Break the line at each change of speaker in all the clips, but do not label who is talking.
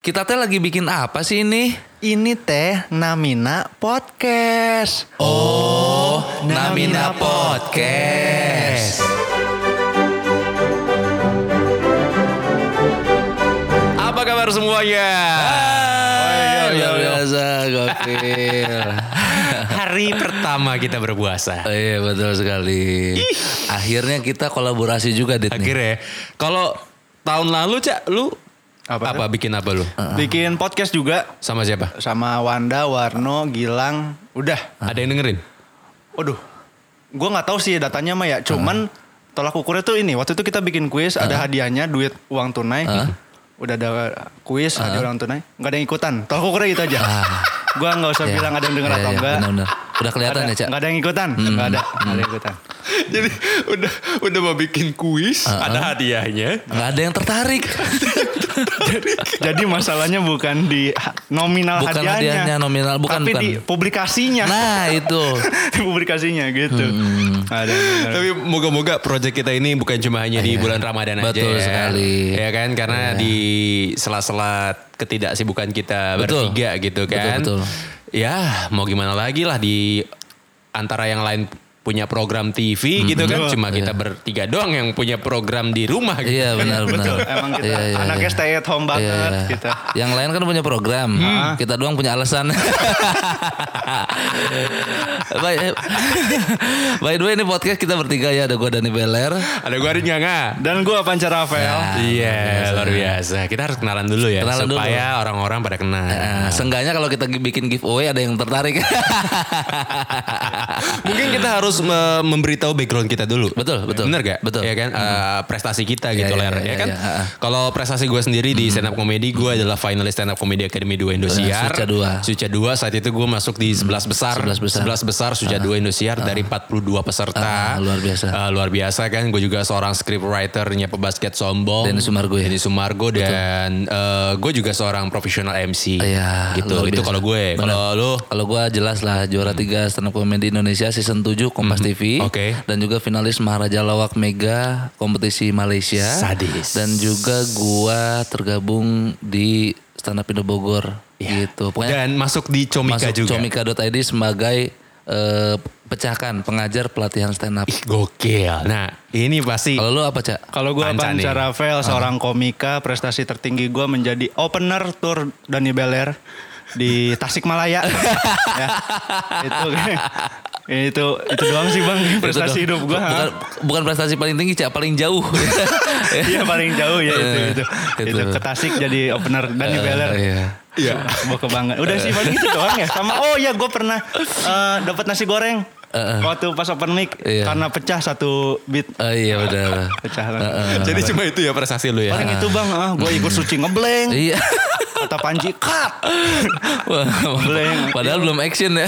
Kita teh lagi bikin apa sih ini?
Ini teh Namina Podcast.
Oh,
Namina
Podcast. Apa kabar semuanya?
Hai,
Luar
yo, yo.
biasa, gokil.
Hari pertama kita berpuasa.
Oh, iya betul sekali. Akhirnya kita kolaborasi juga, Dit. nih.
Akhirnya. ya. Kalau tahun lalu, Cak, lu
Apa
apa, bikin apa lu?
Bikin podcast juga
Sama siapa?
sama Wanda, Warno, Gilang. Udah.
Ada yang dengerin?
Waduh. Gue nggak tahu sih datanya mah ya. Cuman tolak ukurnya tuh ini. Waktu itu kita bikin kuis, ada hadiahnya duit uang tunai. Udah ada kuis, hadiah uang tunai. Nggak ada yang ikutan. Tolak ukurnya gitu aja. Gua nggak usah
Ya.
bilang ada yang denger
Ya,
atau
ya,
enggak.
benar-benar. Udah kelihatan ya,
Ada-
Cak? Hmm.
nggak ada yang ikutan. Nggak ada. Nggak ada yang ikutan.
Jadi udah udah mau bikin kuis, ada hadiahnya.
Nggak ada yang tertarik.
Jadi masalahnya bukan di ha- nominal
Bukan
hadiahnya.
hadiahnya nominal, bukan,
Tapi
bukan.
di publikasinya.
Nah, itu.
di publikasinya gitu.
Hmm.
Ada. ada.
Tapi moga-moga proyek kita ini bukan cuma hanya di bulan Ramadan aja.
Iya, Betul
ya.
sekali. Iya.
Ya kan karena di sela-sela ketidaksibukan kita
Betul.
bertiga gitu kan.
Betul, betul.
Ya, mau gimana lagi lah di antara yang lain punya program
Hmm,
TV gitu kan cuma kita bertiga doang yang punya program di rumah gitu.
Iya,
Betul.
benar-benar.
Emang kita
Iya, iya,
anaknya
iya.
stay at home banget gitu. Hmm. Ah.
Iya, iya.
kita.
Yang lain kan punya program, kita doang punya alasan. by, by the way ini podcast kita bertiga ya, ada gue Dani Beler.
Ada gua Arin Ganga.
Dan gue Panca Rafael.
Ya.
Iya, luar biasa. Kita harus kenalan dulu ya
Ah, Kenalan dulu.
supaya orang-orang pada kenal.
Ah.
Nah, seenggaknya kalau kita bikin giveaway ada yang tertarik.
Mungkin kita harus me- memberitahu background kita dulu.
Betul, betul.
Bener gak?
Betul. Mm-hmm.
Ya kan? Eh, prestasi kita gitu,
Iya, iya,
Ler.
iya,
ya kan?
iya, iya. Mm-hmm.
Kalau prestasi gue sendiri di stand up comedy, gue adalah finalis stand up comedy Academy 2 Indosiar.
Suca dua.
Suca 2. Saat itu gue masuk di 11 besar.
11 besar.
11 besar Suca 2 Indosiar dari 42 peserta.
Ah, luar biasa.
Eh, luar biasa kan. Gue juga seorang script writer-nya pebasket sombong.
Denny Sumargo ya?
Denny Sumargo. Dan eh, gue juga seorang profesional MC.
Iya,
Gitu.
luar
Itu
biasa.
kalau gue.
Benar.
Kalau lu?
Kalau gue jelas lah juara tiga stand up comedy Indonesia season 7 Kompas TV.
Oke.
Dan juga finalis Maharaja Lawak Mega kompetisi Malaysia.
Sadis.
Dan juga gua tergabung di stand up Indo Bogor gitu. Pokoknya
Dan masuk di Comika
masuk
juga.
comika.id sebagai eh, pecahkan pengajar pelatihan stand up.
Gokil. Nah, ini pasti
Kalau lu apa, Cak?
Kalau gue
Panca
Panca
nih.
Rafael,
Ah.
seorang komika, prestasi tertinggi gue menjadi opener tour Dani Beler di Tasikmalaya. ya, itu itu itu doang sih bang prestasi
Itu
hidup
dong.
gue.
Bukan, bukan prestasi paling tinggi, Cak, paling jauh.
Iya paling jauh ya itu itu.
Eh, Itu.
Itu ke Tasik jadi opener Dani Beller.
iya.
Nah.
Iya. Mau kebanggaan. Udah sih paling itu doang ya. Sama oh ya gue pernah eh, dapat nasi goreng. Waktu pas open mic
Eh, Iya.
karena pecah satu beat
Eh, iya benar.
pecah
Jadi cuma itu ya prestasi lu ya.
Paling itu bang, ah, gue ikut suci ngebleng.
Iya.
Kata Panji, cut.
Wah,
Blank.
Padahal belum action ya.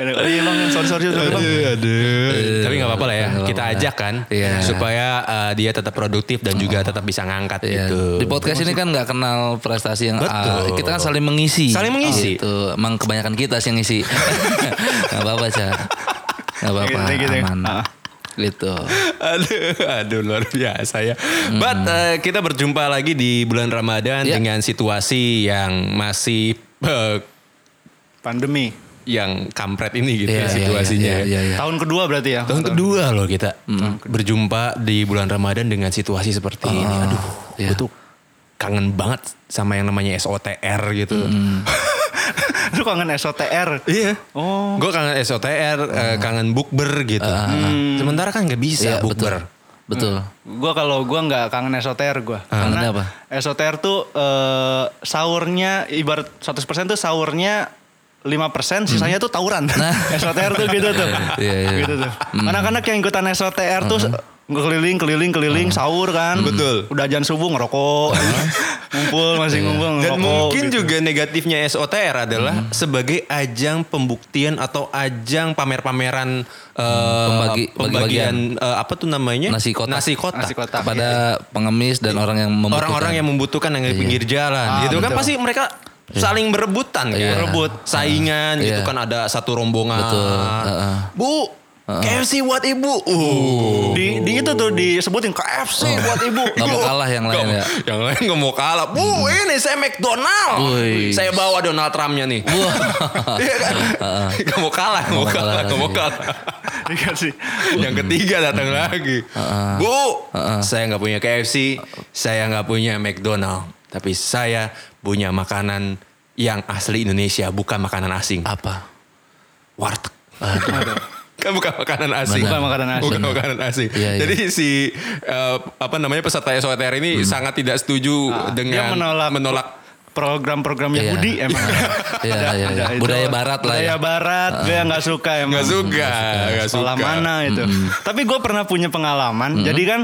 Oh, Iya bang, sorry sorry sorry bang.
Iya. Aduh. Tapi nggak apa-apa lah ya.
Nggak
Kita
apa-apa.
ajak kan
Iya.
supaya uh, dia tetap produktif dan juga tetap bisa ngangkat
Iya.
gitu.
Di podcast ini kan nggak kenal prestasi yang A.
Betul.
Kita kan saling mengisi.
Saling mengisi.
Gitu. Emang kebanyakan kita sih yang ngisi. Gak apa-apa, Cak. Gak apa-apa,
Gitu, gitu.
aman.
Ah.
Gitu.
Aduh, aduh luar biasa ya. But uh, kita berjumpa lagi di bulan Ramadan
Iya.
dengan situasi yang masih uh,
Pandemi.
yang kampret ini gitu
Iya,
ya,
iya,
situasinya.
iya, iya, iya.
Tahun kedua berarti ya.
Tahun kedua loh kita berjumpa di bulan Ramadan dengan situasi seperti ini. Aduh,
iya.
gue tuh kangen banget sama yang namanya SOTR gitu.
Lu kangen SOTR.
Iya.
Oh.
Gue kangen SOTR, eh, kangen bukber gitu. Hmm. Sementara kan nggak
Iya,
bisa
betul.
bukber.
Betul.
Gua kalau gua nggak kangen SOTR gua.
Kangennya
Karena
apa?
SOTR tuh eh, sahurnya ibarat 100% tuh sahurnya 5% sisanya tuh tawuran. SOTR tuh gitu tuh.
Hmm. Nah. Iya, iya. Hmm.
Gitu tuh. Anak-anak yang ikutan SOTR tuh keliling keliling keliling sahur kan.
Betul.
Udah jam subuh ngerokok. ngumpul
Iya.
masih ngumpul ngerokok.
Dan mungkin
gitu.
juga negatifnya SOTR adalah sebagai ajang pembuktian atau ajang pamer-pameran eh,
Pembagi-
pembagian eh, apa tuh namanya
Nasi kotak.
Nasi kotak.
Nasi kotak.
Kepada pengemis dan orang yang membutuhkan. Iya.
orang-orang yang membutuhkan yang di pinggir jalan
Ah,
gitu kan
betul.
pasti mereka saling berebutan kan
Iya.
rebut saingan gitu
Iya.
kan ada satu rombongan
Betul. Heeh.
bu KFC buat ibu. Uh.
Di, di itu
Oh.
tuh disebutin KFC buat ibu.
Gak mau
Duh.
kalah yang lain ya. Hmm.
Yang lain nggak mau kalah. Bu, ini saya McDonald.
Wih.
Saya bawa Donald Trumpnya nih.
Wah.
Iya kan? Gak mau kalah, gak
Nggak mau
mau kalah,
kalah
gak mau
lagi.
kalah.
Iya
Dikasih. Yang ketiga datang lagi. Bu, saya nggak punya KFC, saya nggak punya McDonald, tapi saya punya makanan yang asli Indonesia, bukan makanan asing.
Apa?
Warteg. Kan bukan makanan asing.
Bukan makanan asing.
Bukan makanan asing.
Iya, iya.
Jadi si eh, apa namanya peserta SOTR ini sangat tidak setuju
Ah, Dia
dengan
menolak
menolak
program-program Yahudi
Iya.
emang.
Iya, iya, iya.
Ada itu.
Budaya barat lah ya.
Budaya barat gue Ah, nggak suka emang.
nggak suka, nggak suka.
sekolah mana itu. Tapi gue pernah punya pengalaman. Jadi kan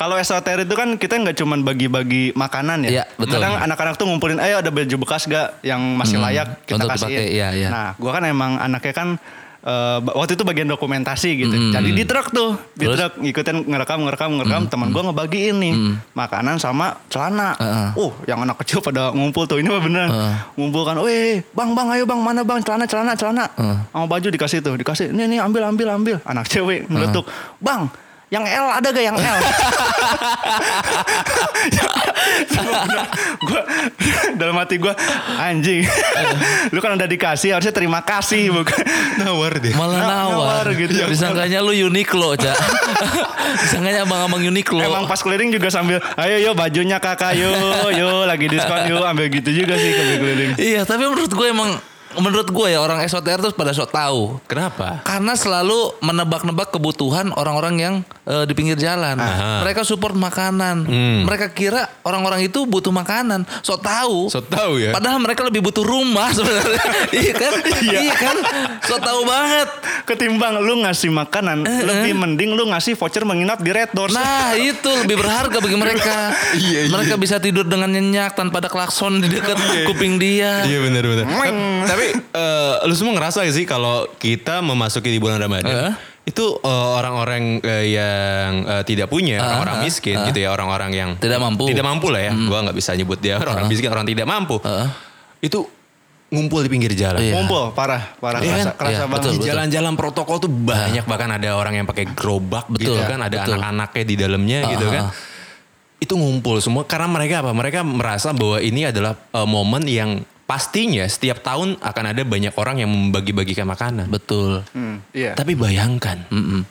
kalau SOTR itu kan kita nggak cuman bagi-bagi makanan
Iya,
ya.
betul.
Kadang anak-anak tuh ngumpulin, ayo ada baju bekas gak yang masih layak kita
Untuk
kasihin.
dipakai, iya, iya.
Nah gue kan emang anaknya kan eh, ba- waktu itu bagian dokumentasi gitu. Jadi di truk tuh, di
Terus?
truk ngikutin ngerekam ngerekam ngerekam. Teman gue ngebagiin nih makanan sama celana.
Heeh.
Uh, yang anak kecil pada ngumpul tuh ini mah beneran
Heeh.
ngumpul kan, weh bang bang ayo bang mana bang celana celana celana,
Heeh.
sama baju dikasih tuh dikasih, nih nih ambil ambil ambil, anak cewek meletuk, bang yang L ada gak yang L? gua dalam hati gue anjing, lu kan udah dikasih harusnya terima kasih bukan nawar deh,
Malah nawar.
gitu.
Disangkanya lu Uniqlo, Cak. Disangkanya abang-abang Uniqlo.
Emang pas keliling juga sambil ayo yo bajunya kakak yo yo lagi diskon yo ambil gitu juga sih kalau keliling.
Iya, tapi menurut gue emang menurut gue ya orang SOTR tuh pada sok tahu.
Kenapa?
Karena selalu menebak-nebak kebutuhan orang-orang yang eh, di pinggir jalan. Mereka support makanan.
Hmm.
Mereka kira orang-orang itu butuh makanan. Sok tahu.
So tahu ya.
Padahal mereka lebih butuh rumah sebenarnya. iya kan? Iya. kan? Sok tahu banget.
Ketimbang lu ngasih makanan, lebih mending lu ngasih voucher menginap di Red
Eh,
Doors.
Nah itu lebih berharga bagi mereka.
Iya, iya.
mereka bisa tidur dengan nyenyak tanpa ada klakson di dekat kuping dia.
Iya benar benar. Tapi eh, lu semua ngerasa gak sih kalau kita memasuki di bulan Ramadan
Eh?
itu eh, orang-orang eh, yang eh, tidak punya, orang-orang miskin gitu ya, orang-orang yang
Tidak mampu. Hmm.
Tidak mampu lah ya. Gua nggak bisa nyebut dia orang miskin, orang tidak mampu. Itu ngumpul di pinggir jalan.
Iya.
Ngumpul parah, parah
Iya kan?
kerasa, kerasa
Iya,
banget.
betul,
Di
betul.
jalan-jalan protokol tuh banyak bahkan ada orang yang pakai gerobak gitu
Betul,
kan, ada
Iya, betul.
anak-anaknya di dalamnya gitu
Ah,
kan.
ah.
Itu ngumpul semua karena mereka apa? Mereka merasa bahwa ini adalah eh, momen yang pastinya setiap tahun akan ada banyak orang yang membagi-bagikan makanan.
Betul.
Hmm, iya.
Tapi bayangkan
Mm-mm.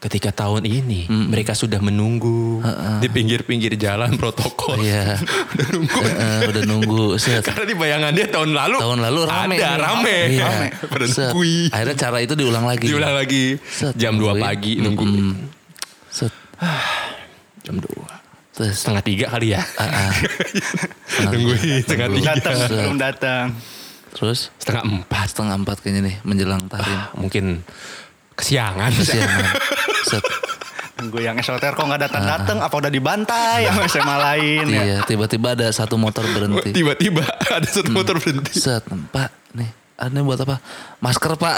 ketika tahun ini mereka sudah menunggu di pinggir-pinggir jalan protokol.
Iya.
Udah nunggu.
Eh, udah nunggu. Set.
Karena di bayangan dia tahun lalu
tahun lalu rame
ada
nih.
rame.
Iya.
Pada
Set.
nungguin.
akhirnya cara itu diulang lagi
Diulang lagi
Set, Iya.
jam 2
nungguin.
pagi nunggu.
Set.
Jam 2.
Terus
Setengah tiga kali ya.
ah, ah.
Nungguin setengah tiga.
datang
Iya.
belum datang.
terus
Setengah empat. Ah,
setengah empat kayaknya nih menjelang tahrim
Mungkin kesiangan.
kesiangan set
Gue yang esoter kok nggak datang datang, apa udah dibantai sama SMA lain ya?
Ah. iya tiba-tiba ada satu motor berhenti
Tiba-tiba ada satu
Hmm.
motor berhenti.
set pak nih ah, ini buat apa masker pak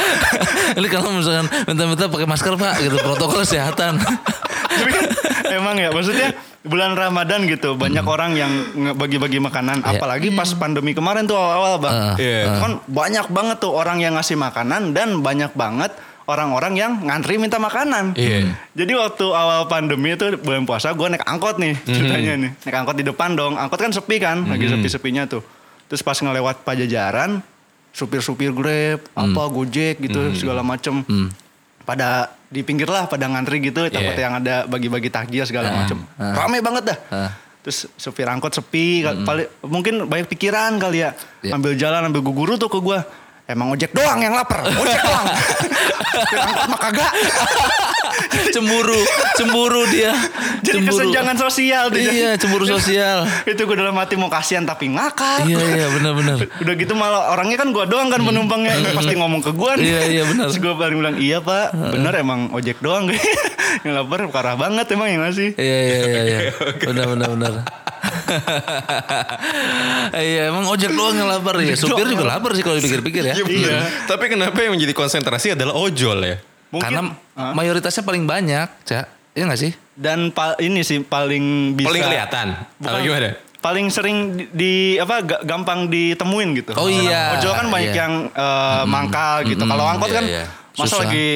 ini kalau misalkan minta-minta pakai masker pak gitu protokol kesehatan
Tapi kan emang ya maksudnya bulan Ramadan gitu banyak orang yang bagi-bagi makanan
Hmm. Iya.
apalagi pas pandemi kemarin tuh awal-awal Bang.
Ah,
Iya.
Kan banyak banget tuh orang yang ngasih makanan dan banyak banget orang-orang yang ngantri minta makanan.
Iya.
Jadi waktu awal pandemi itu bulan puasa gue naik angkot nih ceritanya nih. Naik angkot di depan dong. Angkot kan sepi kan, lagi sepi-sepinya tuh. Terus pas ngelewat pajajaran, supir-supir Grab, apa Gojek gitu segala macem. Pada di pinggir lah pada ngantri gitu takut
Iya.
yang ada bagi-bagi takjil segala macem. Rame banget dah. Terus supir angkot sepi, kal- paling, mungkin banyak pikiran kali ya.
Iya.
Ambil jalan, ambil guguru tuh ke gua. Emang ojek doang yang lapar, ojek doang. Supir angkot mah kagak.
cemburu cemburu dia
Jadi kesenjangan sosial tuh.
iya cemburu sosial
itu gue dalam hati mau kasihan tapi ngakak.
iya iya benar-benar
Udah gitu malah orangnya kan gue doang kan penumpangnya pasti ngomong ke gue.
Iya, iya, benar.
Terus gue paling bilang iya pak, bener emang ojek doang yang lapar parah banget emang ya yang ngasih.
Iya iya iya iya. Benar benar benar. Iya emang ojek doang yang lapar ya. Supir juga lapar sih kalau dipikir-pikir
Iya,
ya.
bener. Iya. Tapi kenapa yang menjadi konsentrasi adalah ojol ya?
Mungkin-
Karena mayoritasnya paling banyak, Cak. Iya gak sih?
Dan pa- ini sih paling bisa.
Paling kelihatan. Atau
Bukan.
gimana?
Paling sering di, di- apa ga- gampang ditemuin gitu.
Oh,
Orang
iya.
Ojol kan banyak
Iya.
yang eh, mangkal gitu. Kalau angkot
Iya,
kan
iya.
Masa
Susah.
lagi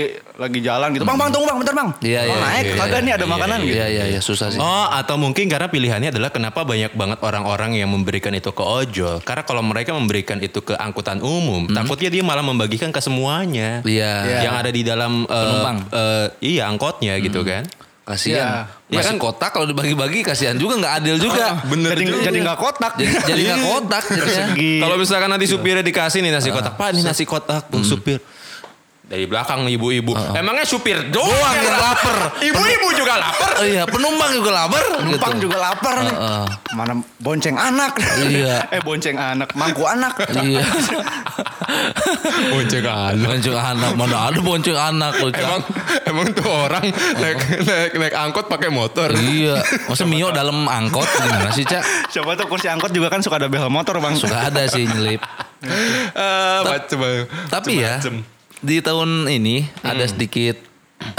lagi jalan gitu. Bang, bang, tunggu bang, bentar bang.
Iya,
Oh,
iya,
naik,
iya,
kagak
iya,
nih ada
iya,
makanan gitu.
Iya, iya, iya, susah sih.
Oh, atau mungkin karena pilihannya adalah kenapa banyak banget orang-orang yang memberikan itu ke ojol. Karena kalau mereka memberikan itu ke angkutan umum, takutnya dia malah membagikan ke semuanya.
Hmm. Iya.
Yang ada di dalam eh,
Penumpang. Hmm.
eh, iya, angkotnya gitu kan.
Kasihan.
Iya.
Masih
Iya kan?
kotak kalau dibagi-bagi kasihan juga nggak adil juga.
Bener
jadi,
juga.
jadi nggak kotak.
jadi jadi nggak
Iya.
kotak gitu ya.
Segi-
Kalau misalkan nanti supirnya dikasih nih nasi kotak, Pak, ini nasi kotak, Bung supir. Dari belakang nih ibu-ibu. Emangnya supir Ah, doang
Doang yang
yang
lapar.
Ibu-ibu juga lapar.
Oh iya, penumpang juga lapar.
Numpang
gitu.
juga lapar nih.
Heeh.
Mana bonceng anak.
Iya.
eh bonceng anak, mangku anak.
Iya.
Bonceng anak.
Bonceng Ah, anak mana ada bonceng anak lu, Cak.
Emang emang tuh orang naik naik, naik angkot pakai motor.
Iya, masa Mio dalam angkot gimana sih, Cak?
Siapa tuh kursi angkot juga kan suka ada bel motor bang.
Suka ada sih nyelip.
Ah, macem banget.
Tapi ya,
Macem-macem. Hmm.
di tahun ini ada sedikit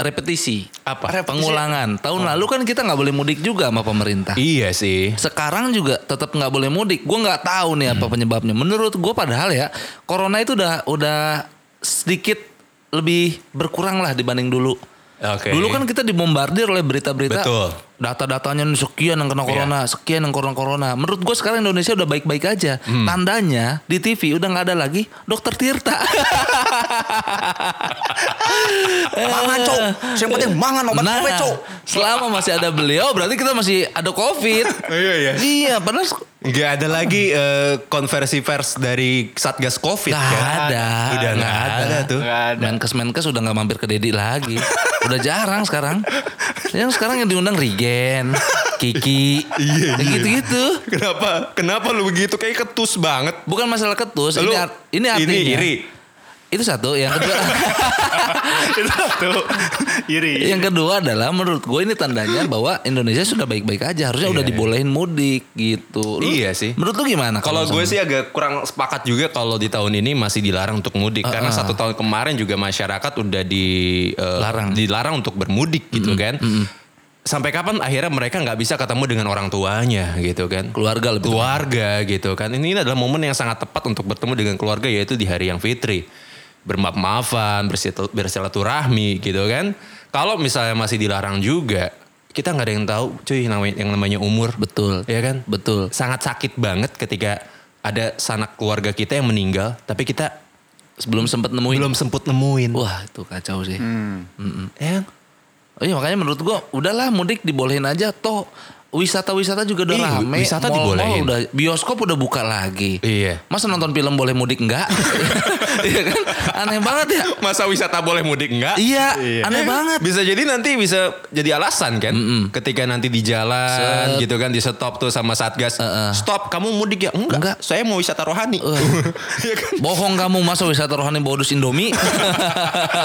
repetisi.
Apa?
Pengulangan. Tahun lalu kan kita nggak boleh mudik juga sama pemerintah.
Oh. Iya sih.
sekarang juga tetap nggak boleh mudik. Gue nggak tahu nih apa
Hmm.
penyebabnya. Menurut gue padahal ya corona itu udah udah sedikit lebih berkurang lah dibanding dulu.
Oke.
Dulu kan kita dibombardir oleh berita-berita
Betul.
data-datanya nih sekian yang kena
Iya.
corona, sekian yang corona corona. Menurut gue sekarang Indonesia udah baik-baik aja.
Hmm.
Tandanya di TV udah nggak ada lagi dokter Tirta.
Mangan cok, yang penting mangan obat
Nah,
kowe cok.
selama masih ada beliau berarti kita masih ada COVID.
Iya, iya.
Iya, padahal
Gak ada lagi eh, konversi pers dari Satgas Covid
Gak
kan?
ada.
Udah gak, ada tuh.
Nggak ada.
Menkes Menkes udah nggak mampir ke Dedi lagi. udah jarang sekarang. Yang sekarang yang diundang Rigen, Kiki,
Iya,
kayak
iya.
gitu-gitu.
Kenapa? Kenapa lu begitu? Kayak ketus banget.
Bukan masalah ketus,
Lu
ini, art- ini artinya.
iri.
Itu satu, yang kedua.
Itu tuh iri.
yang kedua adalah menurut gue ini tandanya bahwa Indonesia sudah baik-baik aja. Harusnya udah dibolehin mudik gitu. Lu-
Iya sih.
Menurut lu gimana?
Kalau gue
sama-
sih agak kurang sepakat juga kalau di tahun ini masih dilarang untuk mudik karena satu tahun kemarin juga masyarakat udah di eh,
Larang.
dilarang untuk bermudik gitu kan. Sampai kapan akhirnya mereka nggak bisa ketemu dengan orang tuanya gitu kan?
Keluarga lebih
keluarga gitu kan. Ini ini adalah momen yang sangat tepat untuk bertemu dengan keluarga yaitu di hari yang fitri. Bermaaf-maafan, bersitu- bersilaturahmi gitu kan. Kalau misalnya masih dilarang juga, kita nggak ada yang tahu cuy yang namanya, yang namanya umur.
Betul.
Iya kan?
Betul.
Sangat sakit banget ketika ada sanak keluarga kita yang meninggal, tapi kita
Sebelum sempet nemuin.
belum sempet nemuin.
Wah itu kacau sih.
Hmm.
Mm-mm.
Hmm.
Ya.
Oh iya makanya menurut gua udahlah mudik dibolehin aja toh wisata-wisata juga udah
Iya,
rame.
wisata
mall-mall
dibolehin.
Udah, bioskop udah buka lagi.
Iya.
Masa nonton film boleh mudik enggak? iya kan? Aneh banget ya.
Masa wisata boleh mudik enggak?
Iya, aneh banget.
Eh, Bisa jadi nanti bisa jadi alasan kan, ketika nanti di jalan gitu kan di stop tuh sama satgas. Stop, kamu mudik ya? Enggak,
Enggak.
saya mau wisata rohani. Iya kan?
Bohong kamu masa wisata rohani bodus Indomie.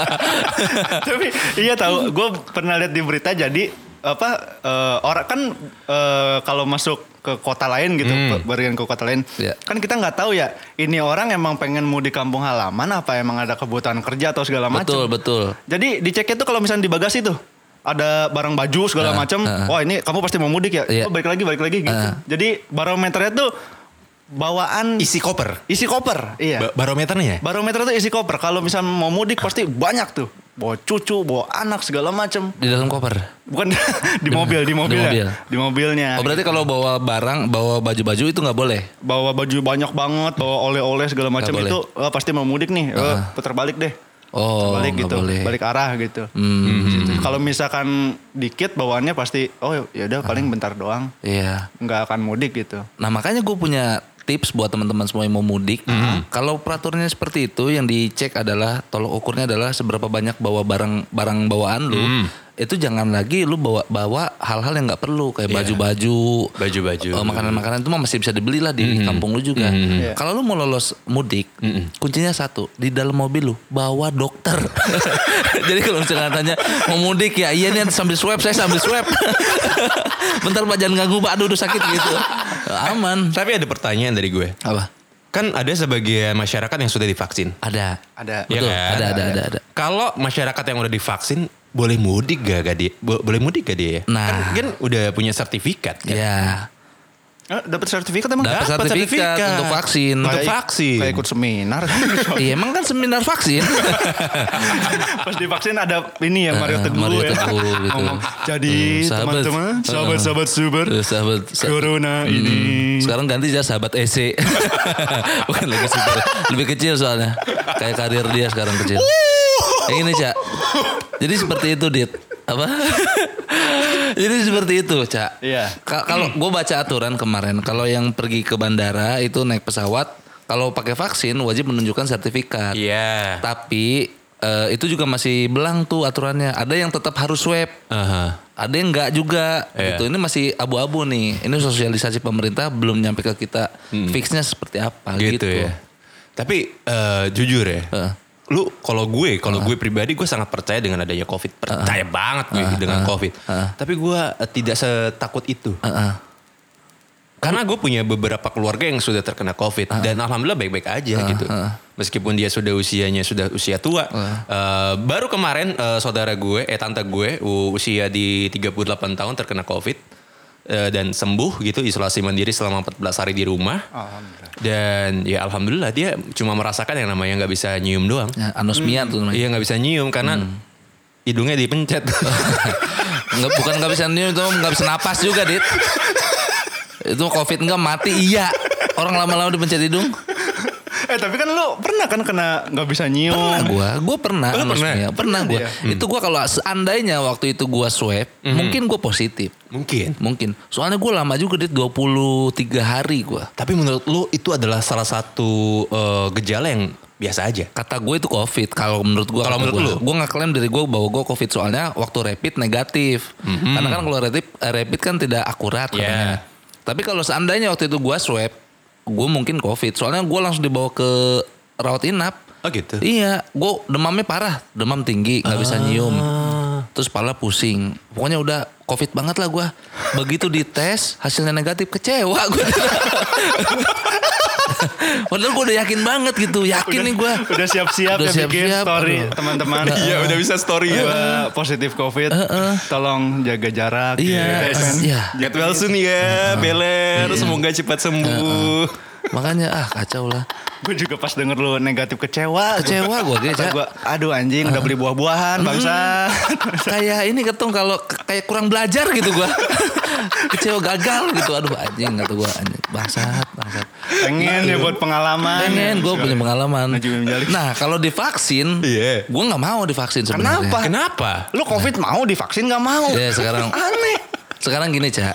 Tapi iya tahu, gue pernah lihat di berita jadi apa eh, orang kan eh, kalau masuk ke kota lain gitu, pe- berpergian ke kota lain,
Hmm. Iya.
kan kita nggak tahu ya ini orang emang pengen mau di kampung halaman apa emang ada kebutuhan kerja atau segala macam.
betul, betul.
Jadi diceknya tuh kalau misalnya di bagasi tuh ada barang baju segala macam. Wah ini kamu pasti mau mudik ya?
Ah, Iya.
Oh balik lagi balik lagi gitu.
Ah.
Jadi barometernya tuh bawaan
Isi koper.
isi koper. Iya.
Ba- barometernya ya?
Barometer tuh isi koper. Kalau misalnya mau mudik pasti banyak tuh. Bawa cucu, bawa anak segala macam.
Di dalam koper.
Bukan di mobil, di mobil,
mobil.
ya. Di mobilnya.
Oh berarti kalau bawa barang, bawa baju-baju itu nggak boleh.
bawa baju banyak banget, bawa oleh-oleh segala macam
boleh. Ah.
itu eh, pasti mau mudik nih. Eh, putar balik deh.
Oh,
balik
nggak
gitu,
boleh. Hmm.
balik arah gitu.
Hmm. Mm-hmm.
Gitu. Kalau misalkan dikit bawaannya pasti oh ya udah paling bentar doang,
Iya.
nggak akan mudik gitu.
Nah makanya gue punya tips buat teman-teman semua yang mau mudik. Kalau peraturannya seperti itu, yang dicek adalah tolok ukurnya adalah seberapa banyak bawa barang barang bawaan lu. Itu jangan lagi lu bawa bawa hal-hal yang nggak perlu kayak baju-baju,
Baju-baju.
eh, makanan-makanan itu mah masih bisa dibeli lah di
Mm-hmm.
kampung lu juga. Kalau lu mau lolos mudik, kuncinya satu di dalam mobil lu bawa dokter. Jadi kalau misalnya tanya mau mudik ya iya nih sambil swab saya sambil swab. Bentar pak jangan ganggu pak aduh aduh sakit gitu. Aman.
Tapi ada pertanyaan dari gue.
Apa?
Kan ada sebagian masyarakat yang sudah divaksin.
Ada.
Ada.
Iya
Betul.
kan?
Ada, ada, ada, ada.
Kalau masyarakat yang udah divaksin boleh mudik gak, gak dia? Bo- Boleh mudik gak dia? ya?
Nah.
Kan, kan udah punya sertifikat kan?
Ya.
Eh, dapat sertifikat emang
Iya. Dapat sertifikat untuk vaksin.
Nggak
Untuk
ik-
vaksin.
nggak ikut seminar.
Iya emang kan seminar vaksin.
Pas divaksin ada ini ya Mario
Eh,
Teguh
Mario
ya.
Teguh gitu.
Ngomong, Jadi
Hmm, sahabat.
teman-teman,
Eh,
sahabat-sahabat super.
Eh, sahabat, sa-
Corona ini.
Sekarang ganti aja sahabat EC. Bukan lagi super. Lebih kecil soalnya. Kayak karir dia sekarang kecil. Yang ini, Cak. Jadi seperti itu, Dit. Apa? Jadi seperti itu, Cak.
Iya.
Ka- Kalau gue baca aturan kemarin, kalau yang pergi ke bandara itu naik pesawat, kalau pakai vaksin wajib menunjukkan sertifikat.
Iya.
Tapi eh, itu juga masih belang tuh aturannya. Ada yang tetap harus swab.
Aha.
Ada yang enggak juga
Iya.
gitu. Ini masih abu-abu nih. Ini sosialisasi pemerintah belum nyampe ke kita. Fixnya seperti apa
Hmm.
gitu.
gitu, ya. Tapi eh, jujur ya,
Heeh.
lu kalau gue, kalau gue pribadi gue sangat percaya dengan adanya COVID, percaya banget gue dengan COVID. Tapi gue eh, tidak setakut itu,
Heeh.
karena gue punya beberapa keluarga yang sudah terkena COVID dan alhamdulillah baik-baik aja gitu. Meskipun dia sudah usianya sudah usia tua, Eh, baru kemarin eh, saudara gue, eh tante gue u- usia di 38 tahun terkena COVID eh, dan sembuh gitu isolasi mandiri selama 14 hari di rumah.
Hmm.
Alhamdulillah.
Dan ya alhamdulillah dia cuma merasakan yang namanya nggak bisa nyium doang.
Ya, anosmia tuh namanya.
Iya Hmm. nggak bisa nyium karena hidungnya dipencet.
Nggak, bukan nggak bisa nyium itu nggak bisa napas juga, Dit. itu covid nggak mati iya. Orang lama-lama dipencet hidung.
Eh tapi kan lu pernah kan kena nggak bisa nyium.
Pernah gua, gua pernah
Oh, pernah?
anosmia. Pernah gua.
Iya.
Itu gua kalau seandainya waktu itu gua swab,
Hmm.
mungkin gua positif.
Mungkin.
Mungkin. Soalnya gue lama juga dit 23 hari gue.
Tapi menurut lu itu adalah salah satu eh, gejala yang biasa aja.
Kata gue itu covid. Kalau menurut gue.
Kalau menurut lu?
Gue ngeklaim dari gue bahwa gue covid. Soalnya waktu rapid negatif.
Mhm.
Karena kan kalau rapid, rapid kan tidak akurat
Iya.
katanya.
Yeah.
Tapi kalau seandainya waktu itu gue swab. Gue mungkin covid. Soalnya gue langsung dibawa ke rawat inap.
Oh gitu.
Iya, gue demamnya parah, demam tinggi, nggak
Ah.
bisa nyium, terus pala pusing. Pokoknya udah covid banget lah gue. Begitu dites hasilnya negatif, kecewa gue. Padahal gue udah yakin banget gitu, yakin nih gue.
Udah siap-siap
Udah
ya bikin
siap-siap,
story
aduh.
teman-teman.
Iya, udah bisa story ya.
Gua positif covid. Tolong jaga jarak.
Iya,
gitu kan.
iya.
Get well soon ya, Beler. Semoga cepat sembuh.
Makanya ah kacau lah,
Gue juga pas denger lu negatif kecewa.
kecewa gue gitu.
Kata
Cak.
gua, aduh anjing udah beli buah-buahan bangsa.
Hmm, Kayak ini ketung kalau k- kayak kurang belajar gitu gue. kecewa gagal gitu, aduh anjing kata gue anjing bangsat bangsat.
Pengen ya buat pengalaman.
Pengen gue punya pengalaman.
Najib Mujalik.
Nah kalau divaksin,
Iya.
gue nggak mau divaksin sebenarnya.
Kenapa?
Kenapa?
Lu covid mau divaksin gak mau.
Ya sekarang
Aneh.
sekarang gini cak,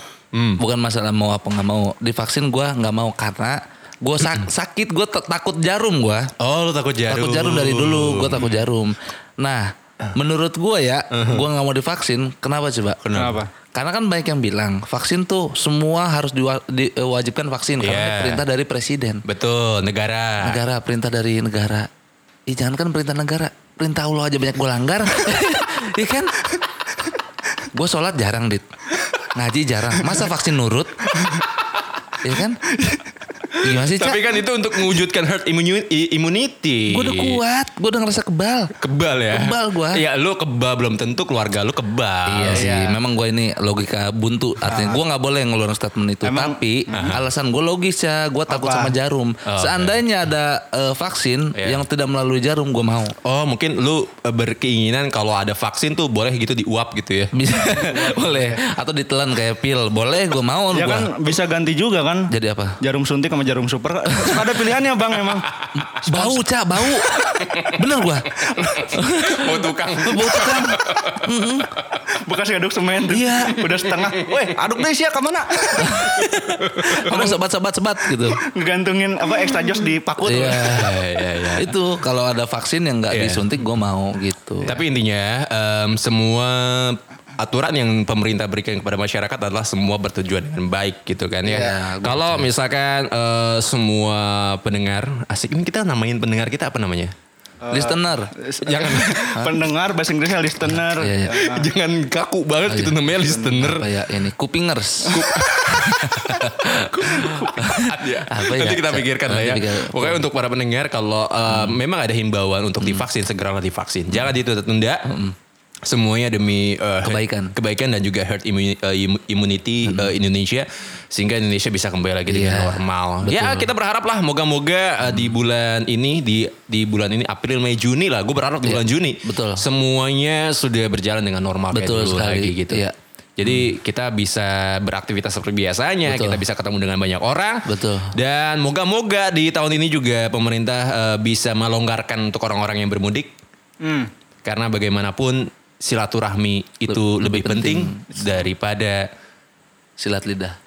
bukan masalah mau apa nggak mau. Divaksin gue nggak mau karena gue sakit, gue takut jarum gue.
Oh lu takut jarum.
Takut jarum dari dulu, gue takut jarum. Nah menurut gue ya, gue nggak mau divaksin. Kenapa coba?
Kenapa?
Karena kan banyak yang bilang vaksin tuh semua harus diwa- diwajibkan vaksin karena
Iya.
ini perintah dari presiden.
Betul, negara.
negara perintah dari negara Ih jangan kan perintah negara perintah Allah aja banyak gue langgar Iya kan gue sholat jarang dit ngaji jarang masa vaksin nurut Iya kan gimana sih cak
Tapi kan itu untuk mewujudkan herd immu- i- immunity.
gue udah kuat gue udah ngerasa kebal
Kebal ya.
Kebal gua.
Iya, lu kebal belum tentu keluarga lu kebal.
Iya sih, memang gue ini logika buntu. Artinya gue nggak boleh ngeluarin statement itu.
Emang-
Tapi alasan gue logis ya, gue takut
Apa?
sama jarum. Seandainya ada eh, vaksin
Iya.
yang tidak melalui jarum, gue mau.
Oh mungkin lu eh, berkeinginan kalau ada vaksin tuh boleh gitu diuap gitu ya.
bisa boleh atau ditelan kayak pil boleh gue mau
Iya
Ya
gua.
kan bisa ganti juga kan.
jadi apa
Jarum suntik sama jarum super. Suka ada pilihannya bang emang.
bau cak bau bener gue
Oh tukang.
bau tekan
Bekas aduk semen. tuh.
Iya.
Udah setengah. Weh aduk deh sia kemana?
sama sebat sebat sebat gitu
Ngegantungin apa extra jos di paku tuh.
iya
Iya, iya, iya.
itu kalau ada vaksin yang nggak
Iya.
disuntik gue mau gitu
Tapi intinya em, semua aturan yang pemerintah berikan kepada masyarakat adalah semua bertujuan dengan baik gitu kan ya.
Iya, gua
Kalau misalkan eh, semua pendengar asik ini kita namain pendengar kita apa namanya? Iya.
listener
Jangan
Pendengar bahasa Inggrisnya listener.
Iya, iya.
jangan kaku banget gitu namanya listener.
apa ya ini kupingers
Ya.
Apa ya?
Nanti kita pikirkan lah
Nanti
ya.
pikir- Hmm.
Pokoknya untuk para pendengar kalau eh, memang ada himbauan untuk divaksin segeralah divaksin. Jangan ditunda-tunda. semuanya demi eh,
Hmm. Kebaikan. Hmm.
kebaikan dan juga herd immuni- eh, im- immunity eh, Indonesia sehingga Indonesia bisa kembali lagi dengan
Iya. Hmm.
normal. Ya kita berharap lah moga-moga eh, di bulan ini di di bulan ini April Mei Juni lah gue berharap di bulan Juni
Iya. betul.
semuanya sudah berjalan dengan normal kayak
Betul
dulu
sekali,
lagi gitu.
iya.
Jadi kita bisa beraktivitas seperti biasanya,
Betul.
kita bisa ketemu dengan banyak orang.
Betul.
Dan moga-moga di tahun ini juga pemerintah eh, bisa melonggarkan untuk orang-orang yang bermudik
Hmm.
karena bagaimanapun silaturahmi itu lebih, penting, daripada
Silat lidah.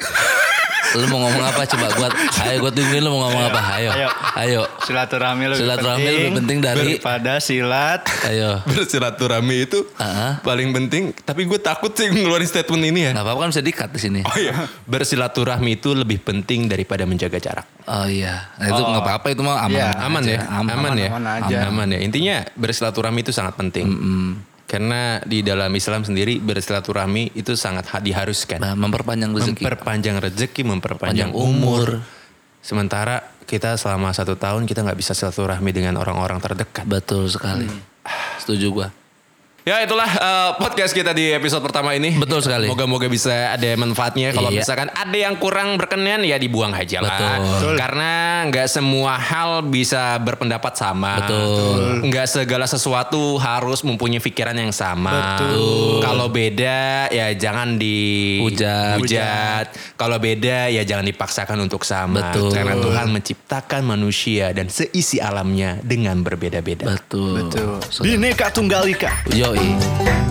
lu mau ngomong apa coba gua ayo gua tungguin lu mau ngomong apa ayo
Ayo.
ayo
Silaturahmi lebih
Silaturahmi
penting.
lebih penting dari-
daripada silat.
ayo
bersilaturahmi itu
Ah.
paling penting. Tapi gue takut sih ngeluarin statement ini ya.
nggak apa-apa kan bisa dikat di sini
Oh iya, bersilaturahmi itu lebih penting daripada menjaga jarak.
oh iya Nah, itu nggak apa-apa itu mah aman
Iya,
Aman
aja.
ya, aman, ya,
aman aja.
aman Hmm. ya. Intinya bersilaturahmi itu sangat penting.
Mm.
Karena di dalam Islam sendiri bersilaturahmi itu sangat ha- diharuskan.
Nah, memperpanjang rezeki
Memperpanjang rezeki, memperpanjang
Panjang
umur. Sementara kita selama satu tahun kita nggak bisa silaturahmi dengan orang-orang terdekat.
betul sekali setuju gua
Ya itulah eh, podcast kita di episode pertama ini.
Betul sekali.
Moga-moga bisa ada manfaatnya. Kalau
Iya.
misalkan ada yang kurang berkenan ya dibuang aja lah.
Betul. Betul.
Karena nggak semua hal bisa berpendapat sama.
Betul.
Nggak segala sesuatu harus mempunyai pikiran yang sama. Betul. Kalau beda ya jangan di
Hujat.
hujat. Kalau beda ya jangan dipaksakan untuk sama.
Betul.
Karena Tuhan menciptakan manusia dan Iya, seisi alamnya dengan berbeda-beda.
betul
Tuh. Bineka Tunggal Ika.
yoi